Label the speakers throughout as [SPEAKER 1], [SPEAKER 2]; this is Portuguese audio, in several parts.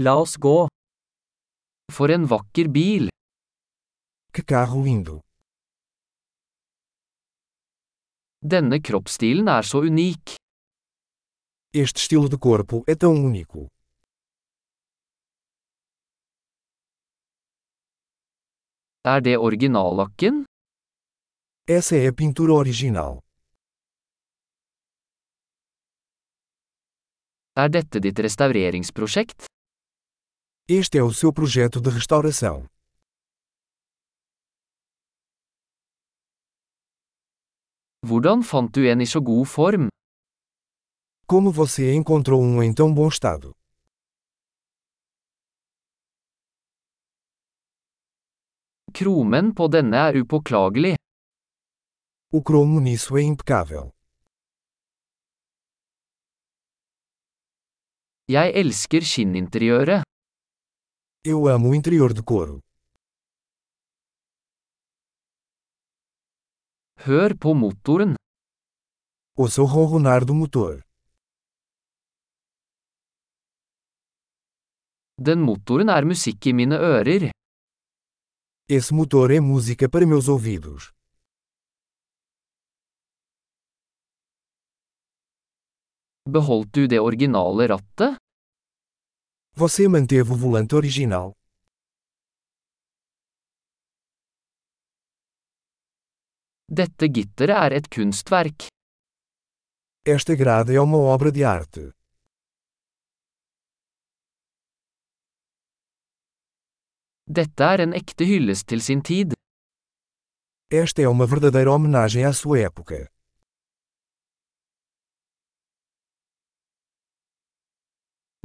[SPEAKER 1] La oss gå. For en vakker bil.
[SPEAKER 2] Que carro lindo!
[SPEAKER 1] Denne kroppsstilen er så unik.
[SPEAKER 2] Este estilo de corpo é tão único.
[SPEAKER 1] Er det originallakken?
[SPEAKER 2] Essa é a pintura original.
[SPEAKER 1] Er dette ditt restaureringsprosjekt?
[SPEAKER 2] Este é o seu projeto de restauração.
[SPEAKER 1] Hvordan fant du en i så god form?
[SPEAKER 2] Como você encontrou um em tão bom estado?
[SPEAKER 1] Kromen på denne er upåklagelig.
[SPEAKER 2] O cromo nisso é impecável.
[SPEAKER 1] Jeg elsker skinninteriøret.
[SPEAKER 2] Eu amo o interior de couro.
[SPEAKER 1] Hør på motoren.
[SPEAKER 2] Ouça o ronronar do motor.
[SPEAKER 1] Den motoren er musikk i mine ører.
[SPEAKER 2] Esse motor é música para meus ouvidos.
[SPEAKER 1] Beholdt du det originale rattet?
[SPEAKER 2] Você manteve o volante original?
[SPEAKER 1] Dette gitteret er et kunstverk.
[SPEAKER 2] Esta grade é uma obra de arte.
[SPEAKER 1] Dette er en ekte hyllest til sin tid.
[SPEAKER 2] Esta é uma verdadeira homenagem à sua época.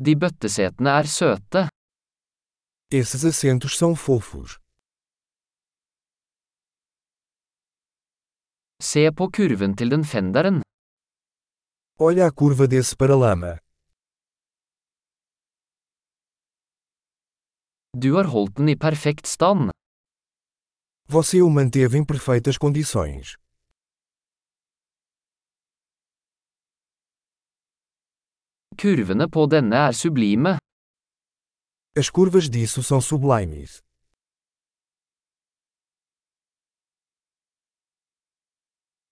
[SPEAKER 1] De bøttesetene er søte.
[SPEAKER 2] Esses assentos são fofos.
[SPEAKER 1] Se på kurven til den fenderen.
[SPEAKER 2] Olha a curva desse paralama.
[SPEAKER 1] Du har holdt den i perfekt stand.
[SPEAKER 2] Você o manteve em perfeitas condições.
[SPEAKER 1] Kurvene på denne er sublime.
[SPEAKER 2] As curvas disso são sublimes.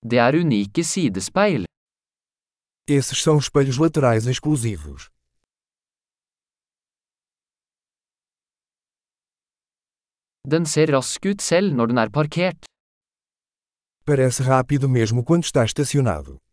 [SPEAKER 1] Det er unike sidespeil.
[SPEAKER 2] Esses são espelhos laterais exclusivos.
[SPEAKER 1] Den ser rask ut selv når den er parkert.
[SPEAKER 2] Parece rápido mesmo quando está estacionado.